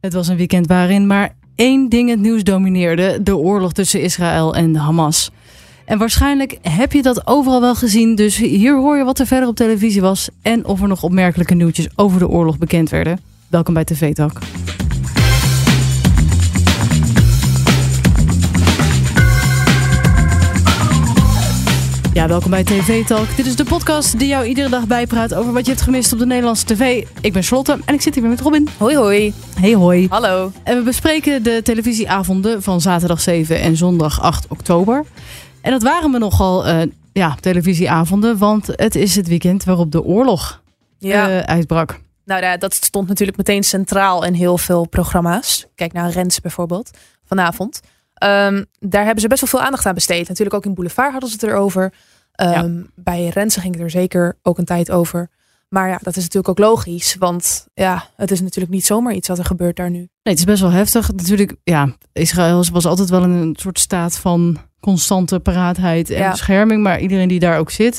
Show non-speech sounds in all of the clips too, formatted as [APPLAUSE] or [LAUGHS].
Het was een weekend waarin maar één ding het nieuws domineerde: de oorlog tussen Israël en Hamas. En waarschijnlijk heb je dat overal wel gezien, dus hier hoor je wat er verder op televisie was en of er nog opmerkelijke nieuwtjes over de oorlog bekend werden. Welkom bij TV Talk. Ja, welkom bij TV Talk. Dit is de podcast die jou iedere dag bijpraat over wat je hebt gemist op de Nederlandse tv. Ik ben Charlotte en ik zit hier weer met Robin. Hoi hoi. Hey hoi. Hallo. En we bespreken de televisieavonden van zaterdag 7 en zondag 8 oktober. En dat waren me nogal eh, ja, televisieavonden, want het is het weekend waarop de oorlog Ja. eh, uitbrak. nou ja, dat stond natuurlijk meteen centraal in heel veel programma's. Kijk naar Rens bijvoorbeeld vanavond. Ehm, daar hebben ze best wel veel aandacht aan besteed. Natuurlijk ook in Boulevard hadden ze het erover. Ehm, Bij Rensen ging het er zeker ook een tijd over. Maar ja, dat is natuurlijk ook logisch. Want ja, het is natuurlijk niet zomaar iets wat er gebeurt daar nu. Nee, het is best wel heftig. Natuurlijk, ja, Israël was altijd wel in een soort staat van constante paraatheid en Ja. bescherming. Maar iedereen die daar ook zit,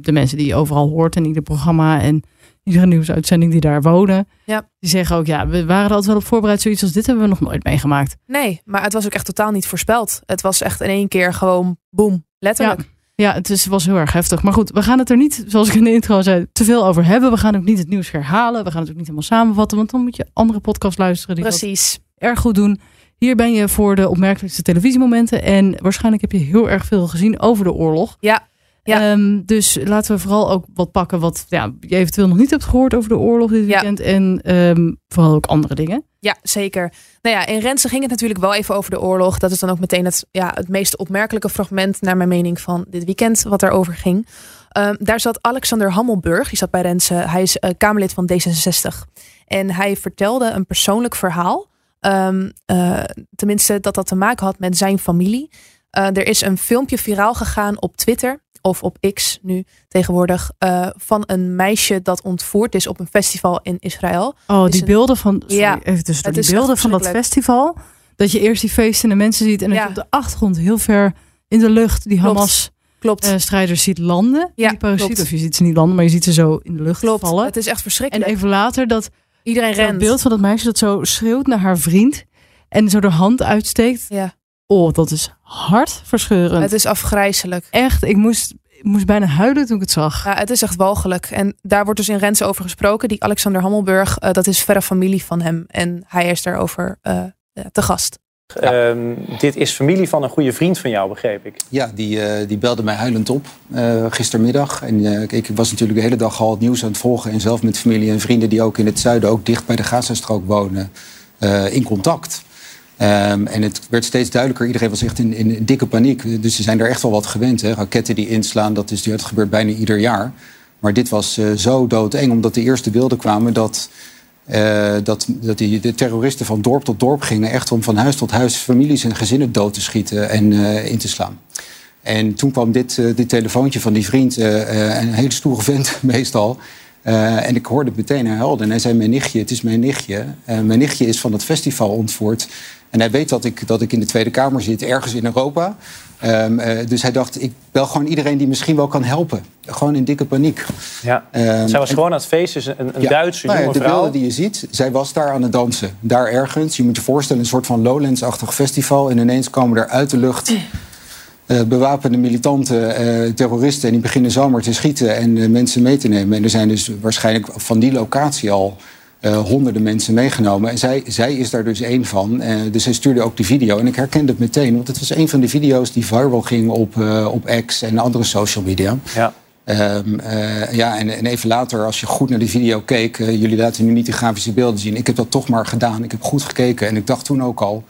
de mensen die je overal hoort en ieder programma en iedere nieuwsuitzending die daar wonen, Ja. die zeggen ook, ja, we waren er altijd wel op voorbereid. Zoiets als dit hebben we nog nooit meegemaakt. Nee, maar het was ook echt totaal niet voorspeld. Het was echt in één keer gewoon boem. Letterlijk. Ja, het is, was heel erg heftig. Maar goed, we gaan het er niet, zoals ik in de intro zei, te veel over hebben. We gaan ook niet het nieuws herhalen. We gaan het ook niet helemaal samenvatten, want dan moet je andere podcasts luisteren die dat Precies. erg goed doen. Hier ben je voor de opmerkelijkste televisiemomenten. En waarschijnlijk heb je heel erg veel gezien over de oorlog. Ja, ja. Ehm, dus laten we vooral ook wat pakken wat ja, je eventueel nog niet hebt gehoord over de oorlog dit Ja. weekend. En ehm, vooral ook andere dingen. Ja, zeker. Nou ja, in Rensen ging het natuurlijk wel even over de oorlog. Dat is dan ook meteen het, ja, het meest opmerkelijke fragment, naar mijn mening, van dit weekend, wat daarover ging. Ehm, daar zat Alexander Hammelburg, die zat bij Rensen. Hij is eh, Kamerlid van D66. En hij vertelde een persoonlijk verhaal. Ehm, eh, tenminste, dat dat te maken had met zijn familie. Eh, er is een filmpje viraal gegaan op Twitter, of op X nu tegenwoordig, eh, van een meisje dat ontvoerd is op een festival in Israël. Oh, Is die het- beelden van, sorry, Ja, even tussendoor. het die is beelden echt van dat festival. Dat je eerst die feesten en de mensen ziet. En dat Ja. je op de achtergrond heel ver in de lucht die Klopt. Hamas-strijders Klopt. ziet landen. Ja, die parasieten. klopt. Of je ziet ze niet landen, maar je ziet ze zo in de lucht Klopt, vallen. het is echt En verschrikkelijk. even later dat Iedereen Dat rent. beeld van dat meisje dat zo schreeuwt naar haar vriend en zo de hand uitsteekt. Ja, Oh, dat is hartverscheurend. het is afgrijzelijk. Echt, ik moest, ik moest bijna huilen toen ik het zag. Ja, het is echt walgelijk. En daar wordt dus in Rensen over gesproken. Die Alexander Hammelburg, eh, dat is verre familie van hem. En hij is daarover eh, ja, te gast. Ehm, dit is familie van een goede vriend van jou, begreep ik. Ja, die, eh, die belde mij huilend op eh, gistermiddag. En eh, ik was natuurlijk de hele dag al het nieuws aan het volgen. En zelf met familie en vrienden die ook in het zuiden, ook dicht bij de Gazastrook wonen, eh, in contact. Ehm, en het werd steeds duidelijker. Iedereen was echt in, in dikke paniek. Dus ze zijn er echt wel wat gewend. Hè? Raketten die inslaan, dat, is, dat gebeurt bijna ieder jaar. Maar dit was eh, zo doodeng, omdat de eerste beelden kwamen dat eh, dat, dat die, de terroristen van dorp tot dorp gingen, echt om van huis tot huis families en gezinnen dood te schieten en eh, in te slaan. En toen kwam dit, eh, dit telefoontje van die vriend, eh, eh, een hele stoere vent [LAUGHS] meestal. Eh, en ik hoorde het meteen, hij huilde. En hij zei, mijn nichtje, het is mijn nichtje. Eh, mijn nichtje is van het festival ontvoerd. En hij weet dat ik, dat ik in de Tweede Kamer zit, ergens in Europa. Ehm, eh, dus hij dacht, ik bel gewoon iedereen die misschien wel kan helpen. Gewoon in dikke paniek. Ja. Ehm, Zij was en- gewoon aan het feest, is een, een ja. Duitse Nou ja, jonge de vrouw. beelden die je ziet, zij was daar aan het dansen. Daar ergens. Je moet je voorstellen, een soort van Lowlands-achtig festival. En ineens komen er uit de lucht eh, bewapende militanten, eh, terroristen. En die beginnen zomaar te schieten en eh, mensen mee te nemen. En er zijn dus waarschijnlijk van die locatie al eh, honderden mensen meegenomen. En zij, zij is daar dus één van. Eh, dus zij stuurde ook die video. En ik herkende het meteen, want het was een van de video's die viral ging op, eh, op X en andere social media. Ja. Ehm, eh, ja, en, en even later, als je goed naar die video keek, eh, jullie laten nu niet de grafische beelden zien. Ik heb dat toch maar gedaan. Ik heb goed gekeken en ik dacht toen ook al,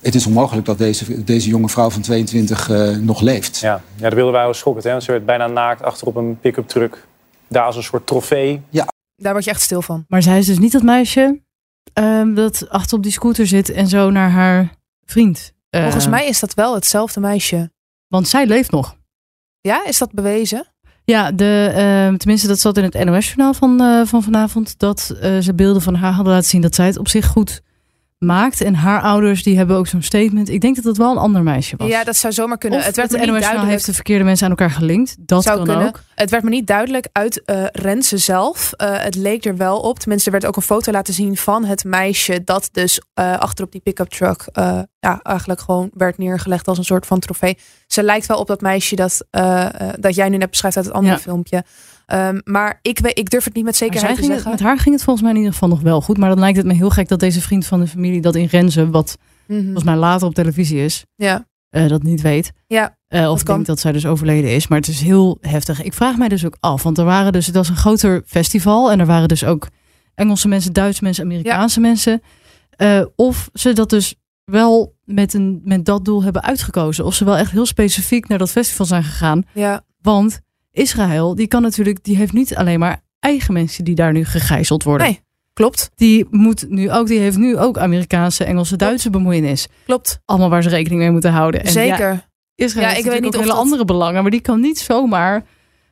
het is onmogelijk dat deze, deze jonge vrouw van 22 eh, nog leeft. Ja. ja, de beelden waren schokkend. Hè? want Ze werd bijna naakt achter op een pick-up truck. Daar als een soort trofee. Daar word je echt stil van. Maar zij is dus niet dat meisje ehm, dat achter op die scooter zit en zo naar haar vriend. eh, Volgens mij is dat wel hetzelfde meisje. Want zij leeft nog. Ja, is dat bewezen? Ja, de, ehm, tenminste, dat zat in het NOS-journaal van, eh, van vanavond. Dat eh, ze beelden van haar hadden laten zien dat zij het op zich goed maakt. En haar ouders die hebben ook zo'n statement. Ik denk dat dat wel een ander meisje was. Ja, dat zou zomaar kunnen. Of het werd de me NOS niet Journaal duidelijk. heeft de verkeerde mensen aan elkaar gelinkt. Dat Zou kan kunnen. ook. Het werd me niet duidelijk uit eh Renze zelf. Eh, het leek er wel op. Tenminste, er werd ook een foto laten zien van het meisje dat dus eh achterop die pick-up truck eh, ja, eigenlijk gewoon werd neergelegd als een soort van trofee. Ze lijkt wel op dat meisje dat, eh, eh, dat jij nu net beschrijft uit het andere Ja. filmpje. Ehm, maar ik, weet, ik durf het niet met Maar zij zekerheid te ging het- zeggen. met haar ging het volgens mij in ieder geval nog wel goed. Maar dan lijkt het me heel gek dat deze vriend van de familie dat in Renze, wat Mhm. volgens mij later op televisie is, Ja. eh, dat niet weet. Ja, Eh, of dat ik kan. denk dat zij dus overleden is. Maar het is heel heftig. Ik vraag mij dus ook af. Want er waren dus, het was een groter festival. En er waren dus ook Engelse mensen, Duitse mensen, Amerikaanse mensen. Eh, of ze dat dus wel met, een, met dat doel hebben uitgekozen. Of ze wel echt heel specifiek naar dat festival zijn gegaan. ja. Want Israël, die kan natuurlijk, die heeft niet alleen maar eigen mensen die daar nu gegijzeld worden. Nee. Klopt, Die moet nu ook, die heeft nu ook Amerikaanse, Engelse, Duitse bemoeienis. klopt. Allemaal waar ze rekening mee moeten houden. En ja, Zeker. Israël Ja, heeft ik weet natuurlijk niet ook of hele dat- andere belangen, maar die kan niet zomaar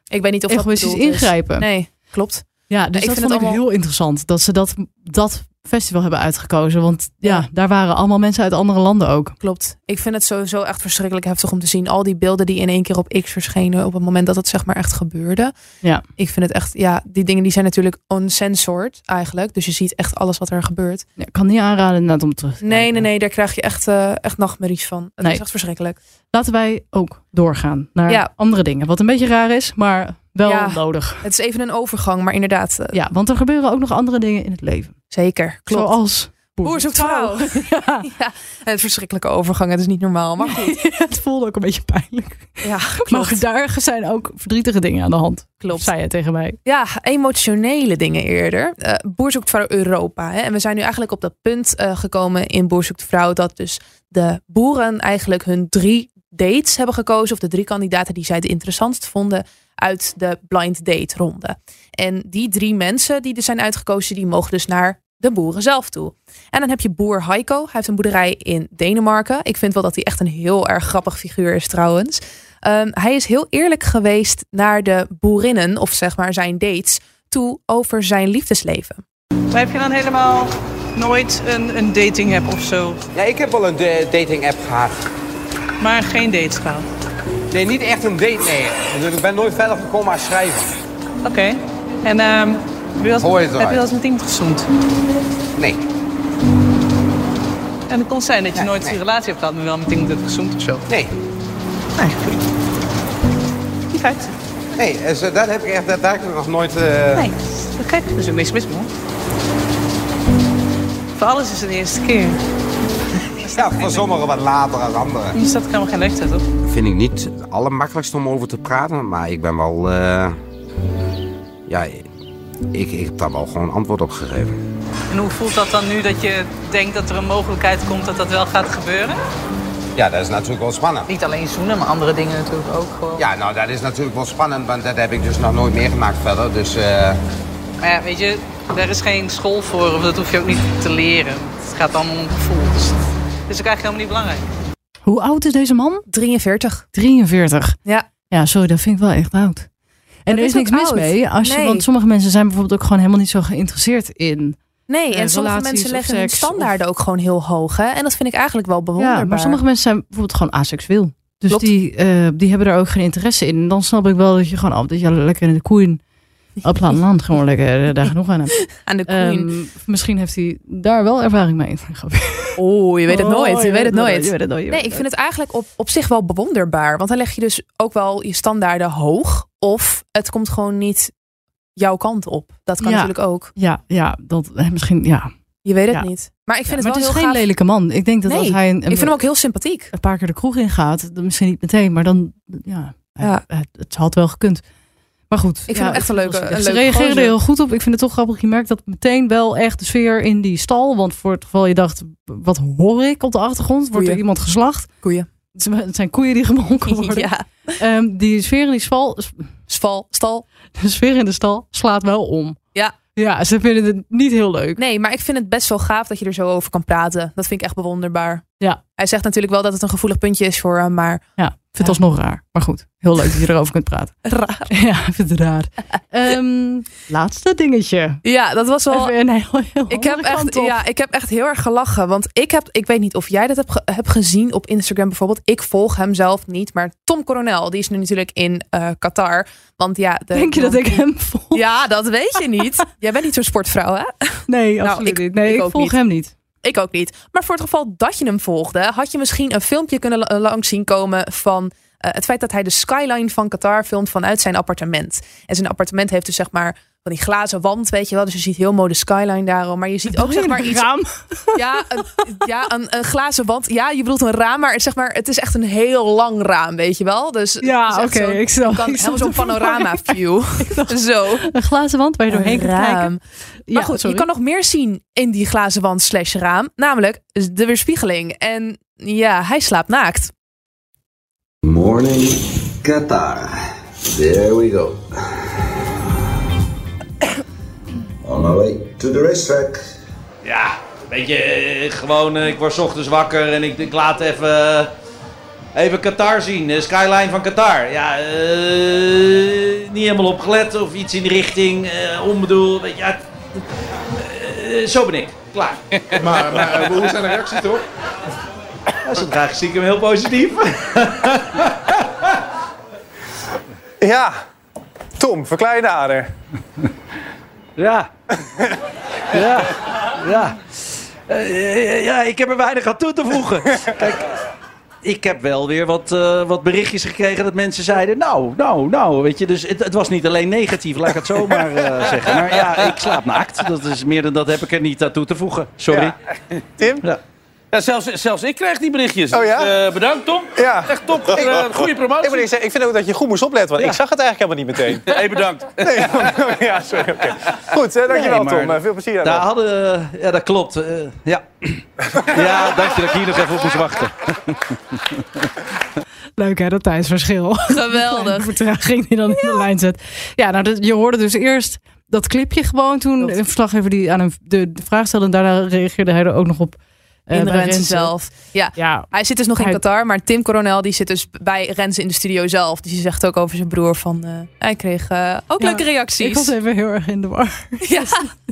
Ik weet niet of dat egoïstisch bedoeld is. ingrijpen. Nee, klopt. Ja, dus ik dat vind het vond ik allemaal- heel interessant dat ze dat, dat festival hebben uitgekozen. Want ja, Ja. daar waren allemaal mensen uit andere landen ook. Klopt. Ik vind het sowieso echt verschrikkelijk heftig om te zien. Al die beelden die in één keer op X verschenen op het moment dat het zeg maar echt gebeurde. Ja. Ik vind het echt, ja, die dingen die zijn natuurlijk uncensored eigenlijk. Dus je ziet echt alles wat er gebeurt. Ja, ik kan niet aanraden inderdaad om terug te Nee, nee, kijken. nee, daar krijg je echt, eh, echt nachtmerries van. Het Nee. is echt verschrikkelijk. Laten wij ook doorgaan naar Ja. andere dingen. Wat een beetje raar is, maar wel Ja. nodig. Het is even een overgang, maar inderdaad, eh, Ja, want er gebeuren ook nog andere dingen in het leven. zeker. Klopt. Zoals Boer zoekt vrouw. [LAUGHS] Ja, Ja, het verschrikkelijke overgang, het is niet normaal. Maar goed, het voelde ook een beetje pijnlijk. ja, Maar klopt. daar zijn ook verdrietige dingen aan de hand. klopt. Zei hij tegen mij. Ja, emotionele dingen eerder. Eh Boer zoekt vrouw Europa. Hè? En we zijn nu eigenlijk op dat punt eh, gekomen in Boer zoekt vrouw... dat dus de boeren eigenlijk hun drie dates hebben gekozen... of de drie kandidaten die zij het interessantst vonden... uit de blind date ronde. En die drie mensen die er zijn uitgekozen... die mogen dus naar de boeren zelf toe. En dan heb je boer Heiko. Hij heeft een boerderij in Denemarken. Ik vind wel dat hij echt een heel erg grappig figuur is trouwens. Ehm, hij is heel eerlijk geweest naar de boerinnen, of zeg maar zijn dates, toe over zijn liefdesleven. Maar heb je dan helemaal nooit eh, een, een dating app of zo? Ja, ik heb wel een de- dating app gehad. Maar geen dates gehad? Nee, niet echt een date, nee. Dus ik ben nooit verder gekomen aan schrijven. Oké. En ehm, heb, je wel Hoor je eens, het heb je eruit? wel eens met iemand gezoend? Nee. En het kon zijn dat je Nee, nooit nee. een relatie hebt gehad, maar wel met iemand hebt gezoend of zo. Nee. Die feit. Nee, dus, eh, dat heb ik echt, dat, daar heb ik nog nooit... eh, Nee, dat gek. Er is ook niks mis mee. Voor alles is het de eerste keer. Ja, voor sommigen wat later dan anderen. Dus dat kan me geen leeftijd op. vind ik niet het allermakkelijkste om over te praten, maar ik ben wel. eh, ja, ik, ik heb daar wel gewoon antwoord op gegeven. En hoe voelt dat dan nu dat je denkt dat er een mogelijkheid komt dat dat wel gaat gebeuren? Ja, dat is natuurlijk wel spannend. Niet alleen zoenen, maar andere dingen natuurlijk ook gewoon. Ja, nou, dat is natuurlijk wel spannend, want dat heb ik dus nog nooit meegemaakt verder. Dus eh, Maar ja, weet je, daar is geen school voor, of dat hoef je ook niet te leren. Het gaat allemaal om gevoel. Dus dat is ook eigenlijk helemaal niet belangrijk. Hoe oud is deze man? 43. 43. Ja. Ja, sorry, dat vind ik wel echt oud. En Dat er is, is niks ook mis oud. mee. Als je, Nee. Want sommige mensen zijn bijvoorbeeld ook gewoon helemaal niet zo geïnteresseerd in. Nee, Eh, en sommige relaties mensen of leggen hun seks standaarden ook gewoon heel hoog. Hè? En dat vind ik eigenlijk wel bewonderbaar. Ja, maar sommige mensen zijn bijvoorbeeld gewoon asexueel. Dus Klopt. die, eh, die hebben daar ook geen interesse in. En dan snap ik wel dat je gewoon, oh, dat je lekker in de [LAUGHS] koeien op land, land gewoon lekker eh, daar genoeg aan hebt. Aan de queen. Ehm, misschien heeft hij daar wel ervaring mee. Grapje. oh, je weet het nooit. Ehm, Oh, Je, weet het nooit. Je weet het nooit. je Nee, weet ik vind het eigenlijk op, op zich wel bewonderbaar. Want dan leg je dus ook wel je standaarden hoog. Of het komt gewoon niet jouw kant op. Dat kan Ja. natuurlijk ook. Ja, ja, dat eh, misschien, ja. Je weet het Ja. niet. Maar ik vind Ja, het maar wel het is heel geen gaaf. lelijke man. Ik denk dat Nee, als hij een, Ik vind hem ook heel sympathiek. een paar keer de kroeg ingaat, dan misschien niet meteen, maar dan, ja, hij- Ja. hij- het had wel gekund. Maar goed. Ik vind hem echt een leuke- Ze een leuke reageerden gozer. heel goed op. Ik vind het toch grappig. Je merkt dat meteen wel echt de sfeer in die stal. Want voor het geval je dacht, wat hoor ik op de achtergrond? Wordt er Koeien. iemand geslacht? Koeien. Het zijn- Het zijn koeien die gemolken worden. [LAUGHS] Ja. Ehm, die sfeer in die stal, Sval, stal. [LAUGHS] de sfeer in de stal slaat wel om. Ja. Ja, ze vinden het niet heel leuk. Nee, maar ik vind het best wel gaaf dat je er zo over kan praten. Dat vind ik echt bewonderbaar. Ja. Hij zegt natuurlijk wel dat het een gevoelig puntje is voor hem, maar Ja. vind het alsnog raar. Maar goed, heel leuk dat je erover kunt praten. Raar. [LAUGHS] Ja, ik vind het raar. [LAUGHS] Ehm, laatste dingetje. Ja, dat was wel. Even een heel, heel Oh, Ik heb, andere kant echt, op. ja, ik heb echt heel erg gelachen. Want ik heb, ik weet niet of jij dat hebt, ge- hebt gezien op Instagram bijvoorbeeld. Ik volg hem zelf niet. Maar Tom Coronel, die is nu natuurlijk in eh, Qatar. Want ja, de- Denk je dat ik hem volg? Ja, dat weet je niet. Jij bent niet zo'n sportvrouw, hè? Nee, Nou, absoluut ik- niet. Nee, ik ik, ook volg niet. hem niet. Ik ook niet. Maar voor het geval dat je hem volgde, had je misschien een filmpje kunnen la- eh, langs zien komen van eh, het feit dat hij de skyline van Qatar filmt vanuit zijn appartement. En zijn appartement heeft dus zeg maar van die glazen wand, weet je wel. Dus je ziet heel mooi de skyline daarom. Maar je ziet ook zeg maar iets Raam. [LAUGHS] Ja, een, ja een, een glazen wand. Ja, je bedoelt een raam, maar, het- zeg maar het is echt een heel lang raam, weet je wel. Dus het Ja, is oké. echt zo'n- ik snap. [LAUGHS] kan ik snap helemaal zo'n de verwarring. panorama view. [LAUGHS] Zo. Een glazen wand waar je doorheen kunt kijken. Raam. Maar goed, je kan nog meer zien in die glazen wand slash raam. Namelijk de weerspiegeling. En ja, hij slaapt naakt. Morning, Qatar. There we go. [COUGHS] On my way to the racetrack. Ja, weet je, eh, gewoon, eh, ik word 's ochtends wakker en ik, ik laat even, eh, even Qatar zien. De skyline van Qatar. Ja, eh, niet helemaal opgelet of iets in de richting, eh onbedoel. Weet je, ja, eh, zo ben ik. Klaar. Maar, maar eh, hoe zijn de reacties toch? Ja, zo graag zie ik hem heel positief. Ja, Tom, verklein de Oh, ader. [LAUGHS] Ja. ja. Ja. Eh, ja, ik heb er weinig aan toe te [LAUGHS] voegen. Kijk, ik heb wel weer wat, eh, wat berichtjes gekregen dat mensen zeiden... Nou, nou, nou, weet je. Dus het, het was niet alleen negatief, laat ik het zo maar eh, [LAUGHS] zeggen. Maar ja, ik slaap naakt. Dat is meer dan dat heb ik er niet aan toe te voegen. Sorry. Tim? Ja, zelfs, zelfs ik krijg die berichtjes. Oh ja? Dus, eh, bedankt Tom. Ja. Echt top. Eh, goede promotie. Ik, moet eerlijk zeggen, ik vind ook dat je goed moest opletten, want ik zag het eigenlijk helemaal niet [LAUGHS] meteen. Hey, bedankt. Nee, ja, sorry. oké. Goed, hè, dankjewel Nee, maar- Tom. Eh, Veel plezier. Daar Daar hadden... eh, ja, dat klopt. eh, ja. [CLEARS THROAT] ja, dank je dat ik hier nog even op moest wachten. Leuk hè, dat tijdsverschil. [LAUGHS] Geweldig. vertraging die dan in de lijn zet. Ja, nou, dat- je hoorde dus eerst dat clipje gewoon toen. Klopt. Een verslaggever die aan hem de, de vraag stelde. En daarna reageerde hij er ook nog op. eh, In bij Rensen Renze. zelf. Ja. Ja, Hij zit dus nog in Hij- Qatar, maar Tim Coronel die zit dus bij Renze in de studio zelf. Dus die zegt ook over zijn broer van... eh, hij kreeg eh, ook Ja, leuke reacties. ik was even heel erg in de war. [LAUGHS] ja.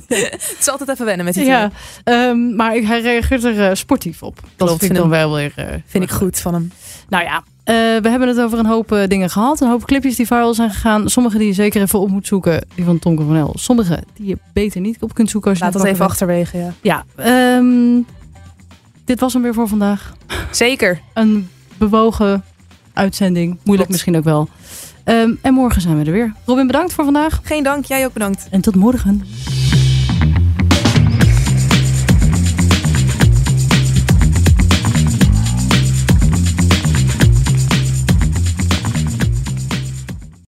Het is altijd even wennen met die Ja, twee. ehm, maar ik- hij reageert er eh, sportief op. Dat Klopt, vind ik vind dan hem- wel weer... eh, Vind ik goed van hem. Nou ja, eh, we hebben het over een hoop eh, dingen gehad. Een hoop clipjes die viral zijn gegaan. Sommige die je zeker even op moet zoeken. Die van Tonke van El. Sommige die je beter niet op kunt zoeken. Als je Laat net dat even wakker achterwege, ja. bent. Ja, ehm, dit was hem weer voor vandaag. Zeker. Een bewogen uitzending. Moeilijk Klopt. misschien ook wel. Ehm, en morgen zijn we er weer. Robin, bedankt voor vandaag. Geen dank, jij ook bedankt. En tot morgen.